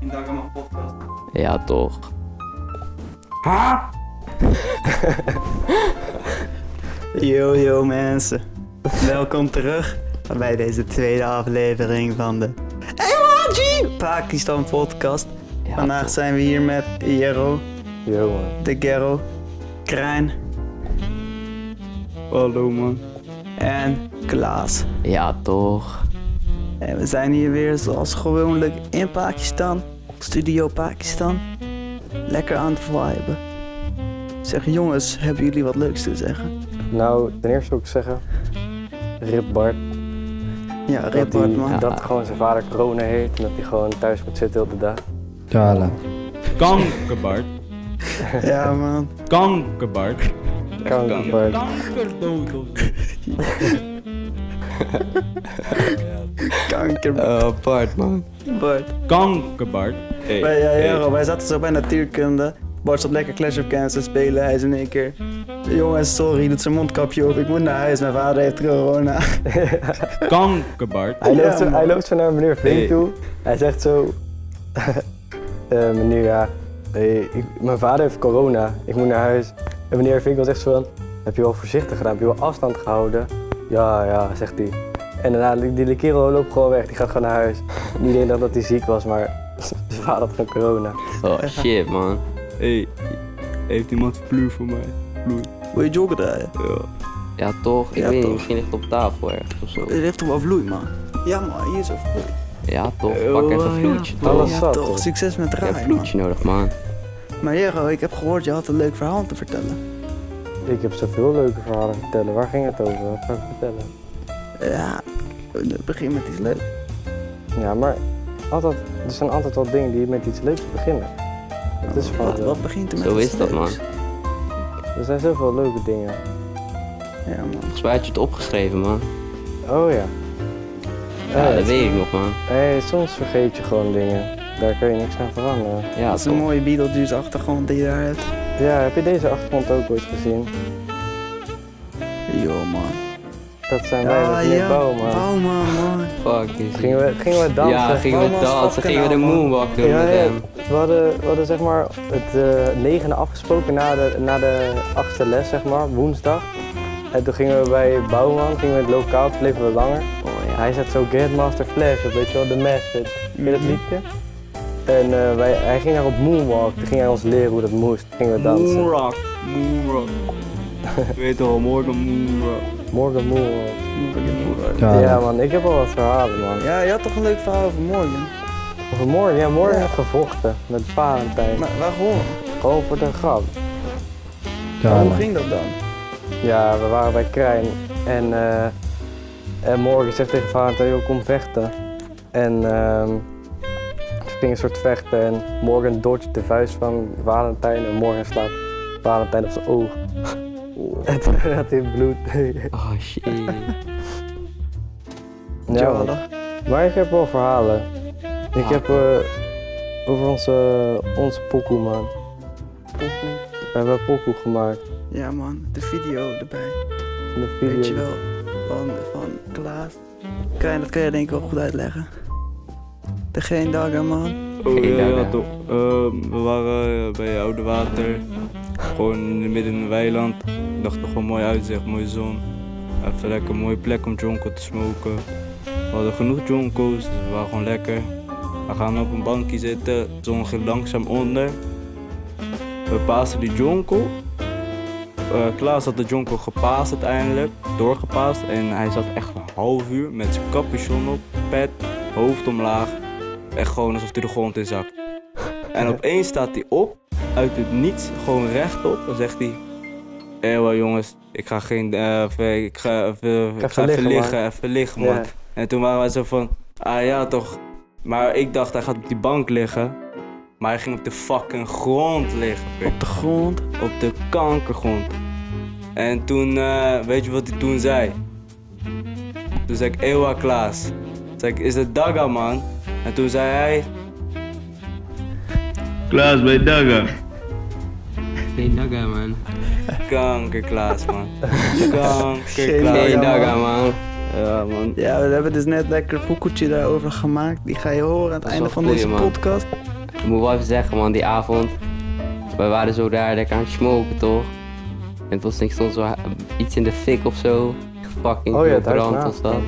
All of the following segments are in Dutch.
Eén dag aan mijn podcast. Ja, toch. Ha! yo, yo mensen. Welkom terug bij deze tweede aflevering van de LRG Pakistan podcast. Ja, Vandaag zijn we hier met Jero, Yo man. de Gero, Krijn. Hallo man. En Klaas. toch. Ja, toch. En we zijn hier weer zoals gewoonlijk in Pakistan, Studio Pakistan. Lekker aan het viben. Zeg jongens, hebben jullie wat leuks te zeggen? Nou, ten eerste wil ik zeggen, Rip Bart. Ja, dat, Rippert hij- man. Ja. dat gewoon zijn vader corona heeft en dat hij gewoon thuis moet zitten heel de dag. Tala. Kankerbart. Ja man. Kankerbart. Kan Rip Bart. Kankerdood of zo. Kanker. Eh, apart man. Bart. Kankerbart. Wij, ja, Jero, wij zaten zo bij natuurkunde. Bart zat lekker Clash of Clans te spelen. Hij is in één keer... Jongens, sorry, doet zijn mondkapje op. Ik moet naar huis. Mijn vader heeft corona. Kankerbart. Hij, loopt Ja, zo, man. hij loopt zo naar meneer Vink Hey. toe. Hij zegt zo, eh, meneer ja, hey, ik- mijn vader heeft corona, ik moet naar huis. En meneer Vink was echt zo van, heb je wel voorzichtig gedaan, heb je wel afstand gehouden? Ja, ja, zegt hij. En daarna, die, die kerel loopt gewoon weg, die gaat gewoon naar huis. Iedereen dacht dat hij ziek was, maar zijn vader had gewoon corona. Oh shit, man. Hey, heeft iemand vloer voor mij? Vloer. Wil je joggen draaien? Ja. Ja, toch. Ik Ja, weet toch. niet, misschien ligt het op tafel ergens of zo. Dit heeft toch wel vloei, man? Ja man, hier is een vloei. Ja, toch. Eh, Pak even oh, een ja, vloedje, toch. toch. Alles Ja zat, toch, hoor. succes met Ik heb een draaien man. vloedje nodig, man. Maar Jero, ik heb gehoord, je had een leuk verhaal te vertellen. Ik heb zoveel leuke verhalen te vertellen. Waar ging het over? Wat kan ik vertellen? Ja, begin met iets leuks. Ja, maar altijd, er zijn altijd wel dingen die met iets leuks beginnen. Het is van, wat, wat begint er met Zo iets is dat, leuks? er zijn zoveel leuke dingen. Ja man. Volgens mij had je het opgeschreven, man. Oh ja. Ja, Eh, dat weet ik nog, man. hey, soms vergeet je gewoon dingen. Daar kun je niks aan veranderen. Ja, Dat is een toch. mooie Beetlejuice achtergrond die je daar hebt. Ja, heb je deze achtergrond ook ooit gezien? Yo man. Dat zijn wij met meneer Bouwman. Bouwman Ah, man. Fuck is Gingen we, gingen we dansen? Ja, gingen we Bouwman is dansen. Gingen we de fucking moonwalk doen Ja, met ja, hem. we, hadden, we hadden zeg maar het eh, negende afgesproken na de, na de achtste les, zeg maar, woensdag. En toen gingen we bij Bouwman, gingen we in het lokaal, toen bleven we langer. Oh ja. Hij zet zo Grandmaster Flash op, weet je wel, de mes. weet je. Ken je dat liedje? En eh, wij, hij ging daar op Moonwalk, toen ging hij ons leren hoe dat moest. Toen gingen we dansen. Moonrock. Moonrock. Je weet toch, morgen Moonrock. Morgan Moonwalk. Tala. Ja man, ik heb al wat verhalen man. Ja, je had toch een leuk verhaal over morgen? Over Morgan, ja Morgan Ja. heeft gevochten met Valentijn. Maar waarom? Gewoon voor de grap. Hoe Tala. ging dat dan? Ja, we waren bij Krijn. En, eh, en Morgan zegt tegen Valentijn, joh, kom vechten. En ehm ze gingen een soort vechten en Morgan dodgt de vuist van Valentijn. En Morgan slaat Valentijn op zijn oog. En toen gaat hij bloed. Oh shit. ja, man. maar ik heb wel verhalen. Ik Ah, heb eh, over onze, onze pokoe, man. We hebben een pokoe gemaakt. Ja man, de video erbij. De video. Weet je wel, van, van Klaas. Kan je, dat kan je denk ik wel goed uitleggen. De Geen Dagger man. Oh Geen ja, idee, ja hè. toch. Ehm, we waren eh, bij Oude Water. Gewoon in het midden in een weiland. Ik dacht toch wel mooi uitzicht, mooie zon. Even lekker een mooie plek om jonko te smoken. We hadden genoeg jonko's, dus we waren gewoon lekker. We gaan op een bankje zitten, de zon ging langzaam onder. We pasen die jonko. Eh, Klaas had de jonko gepaast uiteindelijk, doorgepaast. En hij zat echt een half uur met zijn capuchon op, pet, hoofd omlaag. Echt gewoon alsof hij de grond in zakt. En opeens staat hij op, uit het niets, gewoon rechtop. Dan zegt hij: Ewa jongens, ik ga geen. eh, even- ik ga, even, ik ga even liggen, man." liggen, even liggen, man. Ja. En toen waren wij zo van: Ah ja, toch. Maar ik dacht, hij gaat op die bank liggen. Maar hij ging op de fucking grond liggen, pik. Op de grond. Op de kankergrond. En toen, eh, weet je wat hij toen zei? Toen zei ik, Ewa Klaas. Toen zei ik, is het Daga, man? En toen zei hij, Klaas bij Daga. Geen daga, man. kanker Klaas, man. Geen Kanker Klaas. Daga, daga, man. Ja, man. Ja, we hebben dus net lekker poekeltje daarover gemaakt. Die ga je horen aan het Dat is einde wel van goeie, deze man. podcast. Ik moet wel even zeggen, man, die avond. Wij waren zo daar lekker aan het smoken, toch? En het was niks, stond zo iets in de fik of zo. Fucking Oh ja, veel het huis brand ernaast. was dat.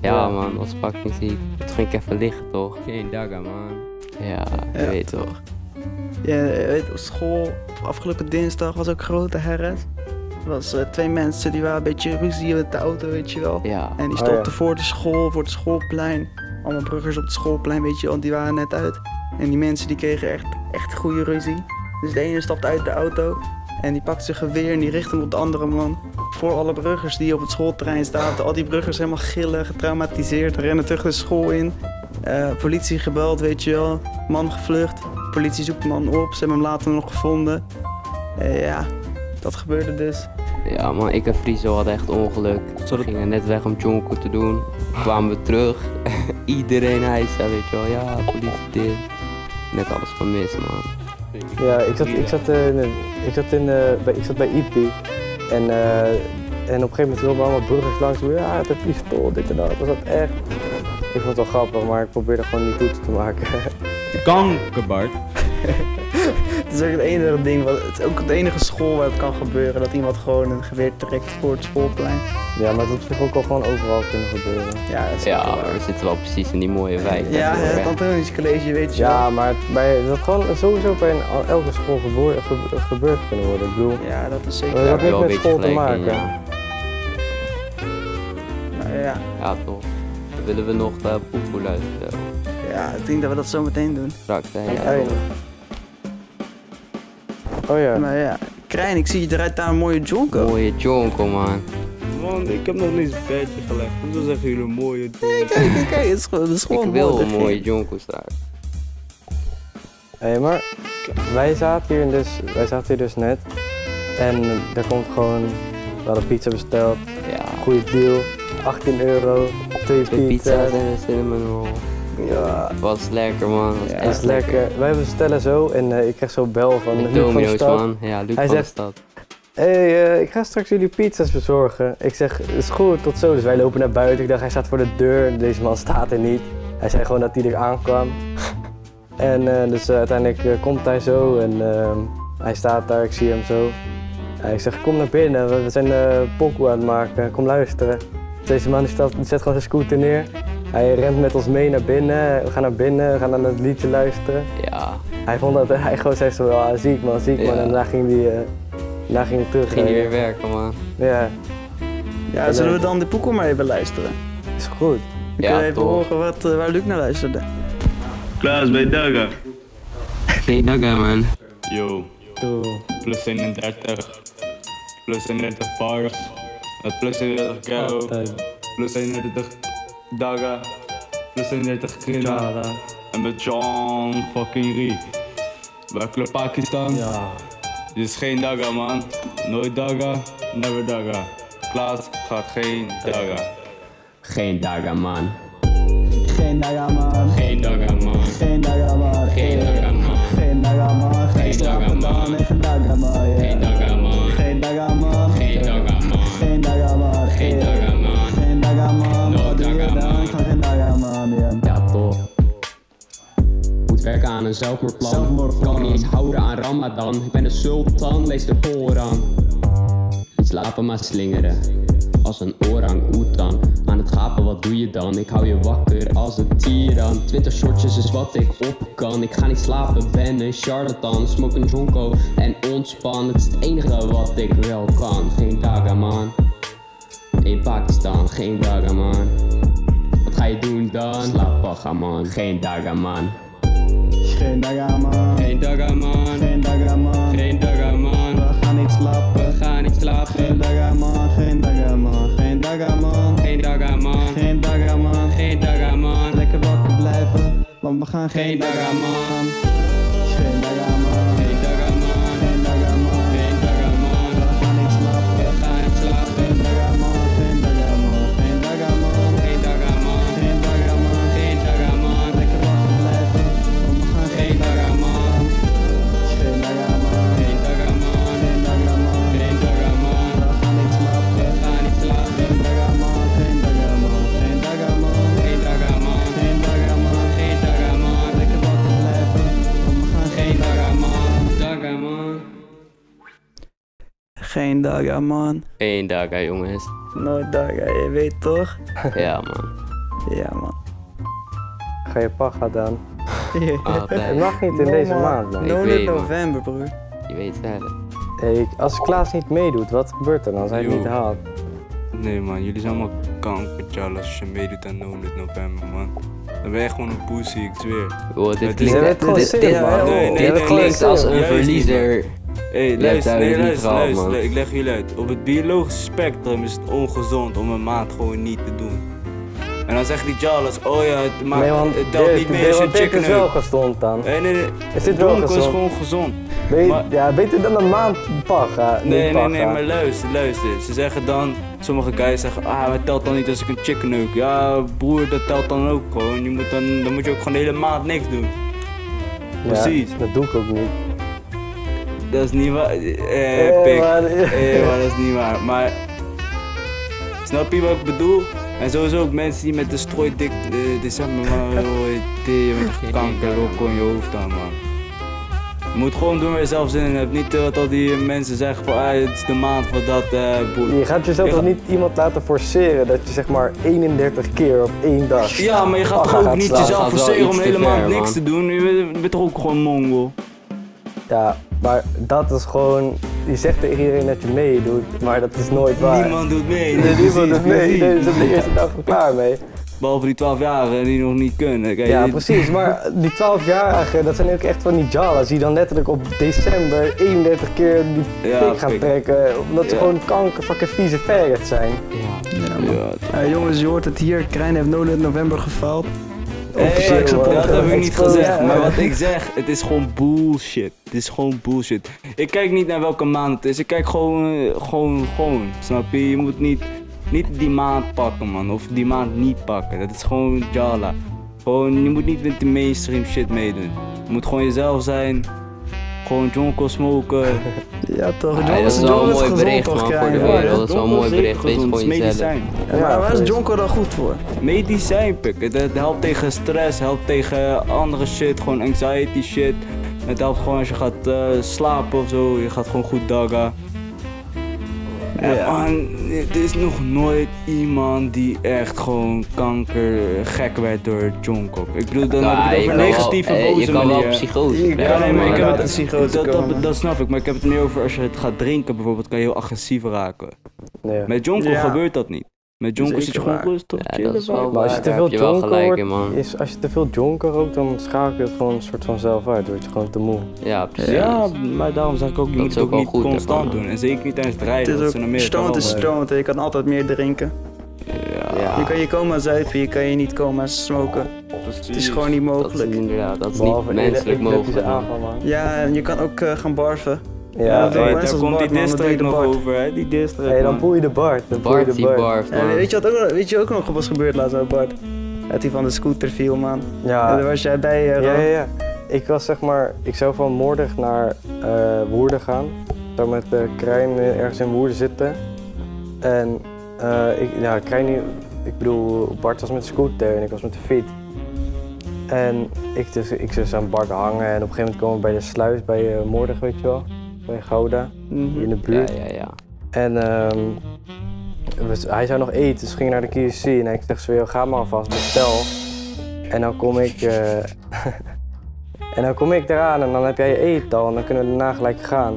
Ja. Ja, man, dat was fucking ziek. Toen ging ik even liggen, toch? Geen dagen, man. Ja, je Ja. weet toch. Ja, je weet, op school, afgelopen dinsdag was ook grote herres. Er was eh, twee mensen die waren een beetje ruzie met de auto, weet je wel. Ja. En die Oh, stopten ja. voor de school, voor het schoolplein. Allemaal burgers op het schoolplein, weet je, want die waren net uit. En die mensen die kregen echt, echt goede ruzie. Dus de ene stapte uit de auto en die pakt zijn geweer en die richt hem op de andere man. Voor alle burgers die op het schoolterrein staan. Al die burgers helemaal gillen, getraumatiseerd, rennen terug de school in. Eh, politie gebeld, weet je wel. Man gevlucht. Politie zoekt de man op. Ze hebben hem later nog gevonden. Eh, ja, dat gebeurde dus. Ja man, ik en Frizo hadden echt ongeluk. Zal We ik- gingen net weg om Jonko te doen. Kwamen we terug. Iedereen hijsa, weet je wel. Ja, politie dit. Net alles van mis man. Ja, ik zat, ik zat, eh, in, een- ik zat, in, eh, bij, ik zat bij IP. En, eh, en op een gegeven moment wilden allemaal burgers langs. me, Ja, het is pistool, dit en dat. Was dat echt? Ik vond het wel grappig, maar ik probeerde gewoon niet goed te maken. Kankerbart. Het is ook het enige ding, wat, het is ook het enige school waar het kan gebeuren. Dat iemand gewoon een geweer trekt voor het schoolplein. ja, maar het had op zich ook al gewoon overal kunnen gebeuren. Ja, dat is Ja, wel maar waar. we zitten wel precies in die mooie wijk. Ja, hè, het Antonisch College, weet je Ja, maar het- bij, dat gewoon sowieso bij een- al- elke school geboor- ge- gebeurd kunnen worden. Ik bedoel, wel. Ja, dat is dat zeker. Daar heeft heb je niks wel een met beetje school te gelijk maken. in, ja. Nou, ja, Ja, toch. Willen we nog uh, poepoe luisteren? ja, ik denk dat we dat zo meteen doen. Straks, hè? Ja, Ja, ja. toch. Oh ja. Maar ja, Krijn, ik zie je eruit daar een mooie jonko. Mooie jonko, man. Man, ik heb nog niet eens een bedje gelegd. Hoezo zeggen jullie mooie dingen? Kijk, kijk, kijk, het is gewoon, het is gewoon Ik wil mooi, een dat mooie ging. jonko straks. Hé, maar wij zaten, hier dus, wij zaten hier dus net en er komt gewoon, we hadden pizza besteld, Ja. goede deal, 18 euro, twee De pizza's pizza's, en de cinnamon roll. ja, Was lekker, man. Was Ja, echt dat is lekker. Wij bestellen zo en eh, ik krijg zo'n bel van Die Luc van de Domino's, stad. man. Ja, Luc Hij van de zegt- stad. Hé, eh, ik ga straks jullie pizza's bezorgen. Ik zeg, is goed, tot zo. Dus wij lopen naar buiten. Ik dacht, hij staat voor de deur. Deze man staat er niet. Hij zei gewoon dat hij er aankwam. en eh, dus eh, uiteindelijk eh, komt hij zo en ehm, hij staat daar, ik zie hem zo. Eh, ik zeg, kom naar binnen, we, we zijn eh pokoe aan het maken, kom luisteren. Deze man die staat, die zet gewoon zijn scooter neer. Hij rent met ons mee naar binnen. We gaan naar binnen, we gaan naar het liedje luisteren. Ja. Hij vond dat, hij gewoon zei zo, ah, ziek man, ziek man. Ja. En daarna ging hij, eh, daarna ging hij terug. Ging eh, niet weer werken, man. ja, Ja, zullen we dan de poekel maar even luisteren? is goed. Dan Ja, kunnen we even toch. horen wat, eh, waar Luc naar luisterde. Klaas bij Daga. Geen dagen, man. Yo, plus 31. Plus 31 bars. Eh, Plus 31 kilo. Plus 31 dagen. Plus 31 kilo. En met John fucking Rie. Bij Club Pakistan. Dit is geen daga man. Nooit daga, never daga. Klaas gaat geen daga. Geen dagen, man. Geen dagaman, Geen daga man. geen dagaman, Geen dagen, man. geen dagaman, geen dagaman, geen dagaman, Geen dagen, geen dagaman, man. Geen dagen, man. geen dagaman, Geen dagen, man. geen dagaman, No wat doe je dagaman. dan? Ik ga geen dagaman, ja. Ja, toch. Moet werken aan een zelfmoordplan. Zelfmoordplan. Kan me niet eens houden aan Ramadan. Ik ben een sultan, lees de Koran. Niet slapen, maar slingeren. Als een orang-oetan. Aan het gapen, wat doe je dan? Ik hou je wakker als een tiran. Twintig shortjes is wat ik op kan. Ik ga niet slapen, ben een charlatan. Smoke een jonko en ontspan. Het is het enige wat ik wel kan. Geen dagaman. In Pakistan, geen dagaman. Wat ga je doen dan? Slapen gaan man, geen dagen man. Geen dagaman, Geen dagen man, geen dagaman, geen dagen man. we gaan niet slapen. We gaan niet Geen slapen, dagaman, geen dagaman, geen dagaman, geen dagen man. geen dagaman, Geen dagen man, lekker wakker blijven, want we gaan geen geen dagen man. Geen dagaman, Geen dagen man, geen dagaman, geen dagen man. we gaan niet slapen. We gaan niet slapen, Geen dagaman, geen dagaman, geen dagaman, geen dagen man. geen dagaman. Geen dagen man, Lekker wakker blijven, want we gaan geen geen dagen man. Geen dagaman, Geen dagen man, geen dagaman, geen dagen man. we gaan niet slapen. We gaan niet slapen, Geen dagaman, geen dagaman. Geen daga, man. Eén dag, hè, jongens. Nooit daga, je weet toch? Ja, man. Ja, man. Ga je pak gaat aan. Het Altijd. mag niet in No, deze man. maand, man. Ik No, weet, dit man. november, broer. Je weet het wel. Hey, als Klaas niet meedoet, wat gebeurt er dan als hij het Joe. niet haalt? Nee man, jullie zijn allemaal kankertjal als je meedoet aan 100 november man. Dan ben je echt gewoon een pussy, ik zweer. Oh, dit dit- klinkt... Ze hebben het gewoon dit- serieus, dit- man. dit- Nee, nee, dit nee, klinkt nee, als nee, een juist niet, verliezer. Hé, hebt luister, daar nee, weer niet luister, gehaald, luister, man. lu- ik leg jullie uit. Op het biologisch spectrum is het ongezond om een maand gewoon niet te doen. En dan zegt die Jalas, oh ja, het, maakt, nee, want het telt Dirk- niet mee als je want een Dirk chicken is wel hebt. gezond dan. Nee, nee, nee. Is dit wel Dronken is gezond? gewoon gezond. Weet- maar- ja, beter dan een maand pak. eh, niet Nee, nee, pak, nee, eh. maar luister, luister. Ze zeggen dan, sommige guys zeggen, ah, maar het telt dan niet als ik een chicken nuke. Ja, broer, dat telt dan ook gewoon. Je moet dan, dan moet je ook gewoon de hele maand niks doen. Ja, Precies. Dat doe ik ook niet. Dat is niet waar. Eh, Eh, pik. maar- Eh, maar dat is niet waar. Maar, snap je wat ik bedoel? En sowieso ook mensen die met de strooi dik, eh, dit zeg maar, maar, joh, die, je bent echt kanker, ook gewoon je hoofd aan, man. Je moet gewoon doen waar je zelf zin in hebt. Niet eh, wat al die mensen zeggen van, ah, het is de maand voor dat, eh, broer. Je gaat jezelf Je toch gaat- niet iemand laten forceren dat je zeg maar 31 keer op één dag. Ja, maar je gaat Oh, toch hij ook gaat niet slapen. jezelf Gaat wel forceren iets om te helemaal ver, niks man. te doen. Je bent- je bent toch ook gewoon mongol. Ja, maar dat is gewoon. Je zegt tegen iedereen dat je meedoet, maar dat is nooit waar. Niemand doet mee. Nee, Nee, niemand doet precies, mee. precies. Iedereen is op de eerste dag al klaar mee. Behalve die 12-jarigen die nog niet kunnen. Kijk, Ja, dit- precies. Maar die 12-jarigen, dat zijn ook echt van die jalas die dan letterlijk op december 31 keer die Ja, pik gaan pik. trekken. Omdat ze Ja. gewoon kanker, fucking vieze verret zijn. Ja, man. Ja, Eh, jongens, je hoort het hier. Krijn heeft 0 in november gefaald. Hey, Officieel man. dat supporter. heb ik niet Exposed, gezegd, ja. maar wat ik zeg, het is gewoon bullshit. Het is gewoon bullshit. Ik kijk niet naar welke maand het is, ik kijk gewoon, eh, gewoon, gewoon. Snap je? Je moet niet, niet die maand pakken, man. Of die maand niet pakken. Dat is gewoon jala. Gewoon, je moet niet met de mainstream shit meedoen. Je moet gewoon jezelf zijn. Gewoon jonko smoken. Ja, toch. Ah, John dat is wel een mooi gezond, bericht, toch, man, voor Krijn? de Ja, wereld. ja. dat is wel een mooi bericht. Wees Gezond, gewoon jezelf. medicijn. Ja, maar waar is precies. Jonko dan goed voor? medicijn pik. Het helpt tegen stress, helpt tegen andere shit, gewoon anxiety shit. Het helpt gewoon als je gaat eh, slapen of zo, je gaat gewoon goed dagga. En man, er is nog nooit iemand die echt gewoon kanker gek werd door Jungkook. Ik bedoel, dan Ah, heb ik je het kan over wel- negatieve eh, boze Je kan wel manieren. psychose Ja, Ja, krijgen, nee, maar ik man. heb laat het, de psychose dat, komen. dat, dat snap ik, maar ik heb het meer over als je het gaat drinken bijvoorbeeld, kan je heel agressief raken. Nee. Met Jungkook Ja. gebeurt dat niet. Met Jungkook zit je Zeker gewoon waar. rustig, Ja, chillen, dat is wel man. Maar als je waar. te Daar veel heb je wel dronken gelijk in, wordt, man. is, als je te veel jonker rookt, dan schakel je het gewoon een soort van zelf uit. Dan word je gewoon te moe. Ja, precies. Ja, maar daarom zeg ik ook, je Dat moet is ook het ook wel niet goed, hè, constant man. doen. En zeker niet tijdens het Het rijden, dat is ze naar ook meer stroont is stroont. hè. Je kan altijd meer drinken. Je Ja, kan je coma zuipen, je kan je niet coma smoken. Het is gewoon niet dat is mogelijk. inderdaad. Dat is niet menselijk mogelijk, man. aanval, man. Ja, en je kan ook eh, gaan barven. Ja, dat is hey, wel- daar Wenzel's komt die Bart, man, dat deed district de nog Bart. over, hè? Die district. hey, dan man. boei je de Bart. Dan boei je Bart de die Bart. barf, En man. weet, je wat ook, weet je ook nog wat gebeurd laatst met Bart? Dat hij van de scooter viel, man. Ja, En daar was jij bij, eh, Ja, Ron. ja, ja. Ik was zeg maar, ik zou van Moordig naar eh Woerden gaan. Zou met eh Krijn eh, ergens in Woerden zitten. En eh, ik, ja, Krijn, die- ik bedoel, Bart was met de scooter en ik was met de fiets. En ik, dus, ik dus aan Bart hangen en op een gegeven moment komen we bij de sluis bij eh, Moordig, weet je wel. Bij Gouda, Mhm. in de Ja, buurt. ja, ja. En ehm, we- hij zou nog eten, dus we gingen naar de KFC en ik zeg zo, "Yo, ga maar alvast, bestel. En dan kom ik, eh, en dan kom ik eraan en dan heb jij je eten al en dan kunnen we daarna gelijk gaan.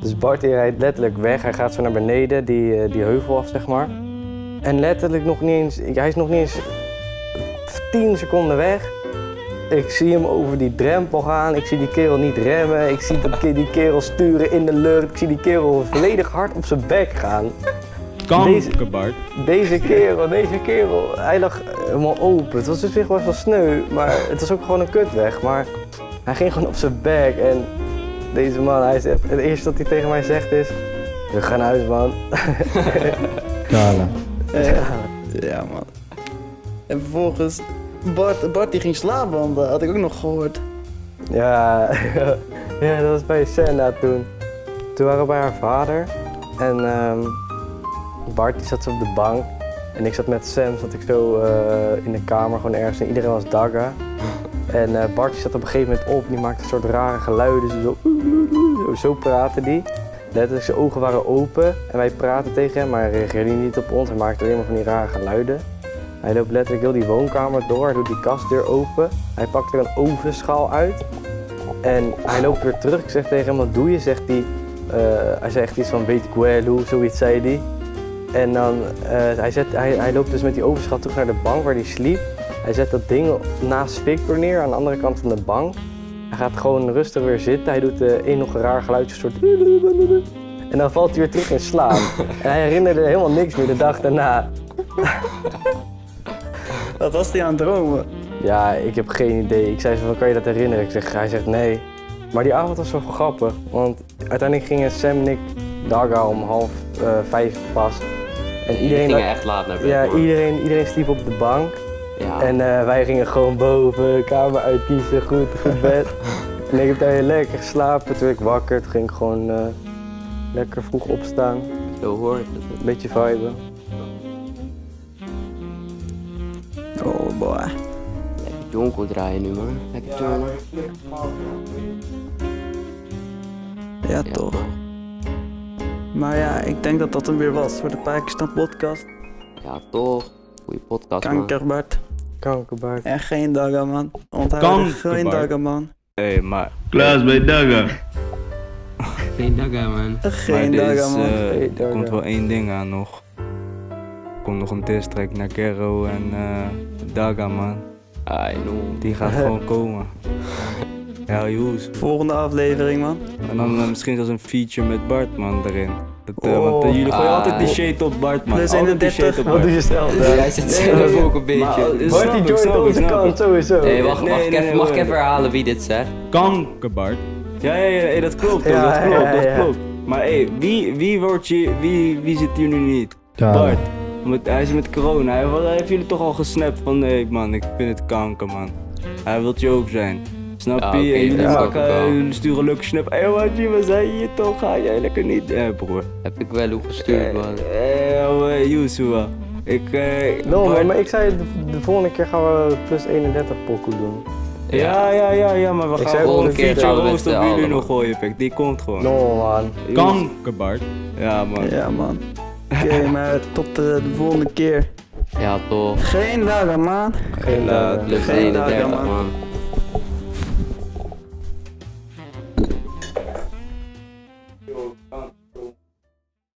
Dus Bart die rijdt letterlijk weg, hij gaat zo naar beneden, die, eh, die heuvel af zeg maar. En letterlijk nog niet eens, ik- hij is nog niet eens 10 seconden weg. Ik zie hem over die drempel gaan. Ik zie die kerel niet remmen. Ik zie die, die kerel sturen in de lucht. Ik zie die kerel volledig hard op zijn bek gaan. Kanker, Bart. Deze kerel, deze kerel. Hij lag helemaal open. Het was dus zich wel eens wel sneu. Maar het was ook gewoon een kutweg. Maar hij ging gewoon op zijn bek. En deze man, hij zegt, het eerste dat hij tegen mij zegt is... We gaan naar huis, man. eh, Ja, man. En vervolgens, Bart, Bart die ging slaapwandelen, had ik ook nog gehoord. Ja, ja, dat was bij Senna toen. Toen waren we bij haar vader en ehm, Bart die zat zo op de bank. En ik zat met Sam, zat ik zo eh, in de kamer gewoon ergens en iedereen was dagga. En eh, Dus Bart die zat op een gegeven moment op, die maakte een soort rare geluiden. Zo, zo praten die. Letterlijk, zijn ogen waren open en wij praten tegen hem, maar hij reageerde niet op ons. Hij maakte alleen maar van die rare geluiden. Hij loopt letterlijk heel die woonkamer door, hij doet die kastdeur open. Hij pakt er een ovenschaal uit en hij loopt weer terug. Ik zeg tegen hem, wat doe je? Zegt hij, eh, hij zegt iets van weet ik wel hoe, zoiets zei hij. En dan, eh, hij, zet, hij, hij loopt dus met die ovenschaal terug naar de bank waar hij sliep. Hij zet dat ding naast Victor neer, aan de andere kant van de bank. Hij gaat gewoon rustig weer zitten. Hij doet eh één nog een raar geluidje, een soort... En dan valt hij weer terug in slaap. en hij herinnerde helemaal niks meer de dag daarna. Wat was die aan het dromen? Ja, ik heb geen idee. Ik zei zo van, kan je dat herinneren? Ik zeg, hij zegt nee. Maar die avond was wel grappig, want uiteindelijk gingen Sam en ik Daga om half eh, vijf pas. En Iedereen iedereen, ging echt laat naar bed. ja, man. iedereen, iedereen sliep op de bank. Ah. Ja. En eh, wij gingen gewoon boven, kamer uitkiezen, goed, goed bed. en ik heb daar heel lekker geslapen. Toen werd ik wakker, toen ging ik gewoon eh, lekker vroeg opstaan. Zo hoor ik het. Een beetje viben. Oh boy. Lekker jonkel draaien nu, man. Lekker turnen. Ja, Ja, toch. man. Maar ja, ik denk dat dat hem weer was voor de Pakistan podcast. Ja, toch. Goeie podcast, man. Kankerbart. Kankerbaard. En geen daga man. Onthoud geen Kankerbart. daga man. Hé, hey, maar, Klaas bij Daga. Geen dag, hè, man. maar Geen er daga is, man. eh, Geen er daga. komt wel één ding aan nog. Er komt nog een district naar Kero en eh Daga, man. Ai, no. Die gaat gewoon komen. Ja, joes. Volgende aflevering man. En dan eh, misschien zelfs een feature met Bart, man, erin. Dat, eh, Oh. want eh, jullie gooien Ah. altijd die shade op Bart, man. Dus in de altijd die shade 30 op Wat Bart. doe je zelf? Jij zit zelf ook een beetje. Snap Marty ik, joint snap ik, onze snap kant ik. sowieso. Hey, wacht, Nee, mag, nee, ik even, nee, mag nee, ik even nee. herhalen wie dit zegt? Kanker, Bart. Ja, ja, ja, hey, dat klopt, hoor, Ja, dat klopt, ja, dat ja. klopt. Maar hé, hey, wie, wie, wordt je, wie, wie zit hier nu niet? Bart. Omdat hij is met corona. Hij, hij heeft jullie toch al gesnapt van, nee man, ik vind het kanker, man. Hij wilt je ook zijn. Snap je? Ja, oké, en jullie, dat snap pakken- ik wel. jullie sturen een leuke snap. Hé, hey, wat je, we zijn hier toch? Ga jij lekker niet? Eh, broer. Heb ik wel opgestuurd, man. Eh, ouwe, Yusua. Ik, eh... No, Bart- maar, maar ik zei de, de volgende keer gaan we plus 31 pokoe doen. Ja, ja, ja, ja, maar we Ik gaan zei gewoon volgende een keer feature gaan we met roost op z'n jullie allen, nog man. gooien, pik. Die komt gewoon. No man. Kanker, Bart. Ja, man. Ja man. Oké, maar tot eh, de volgende keer. Ja, toch. Geen daga man. Geen Laat. eh, Plus Geen dag, 31, man. man.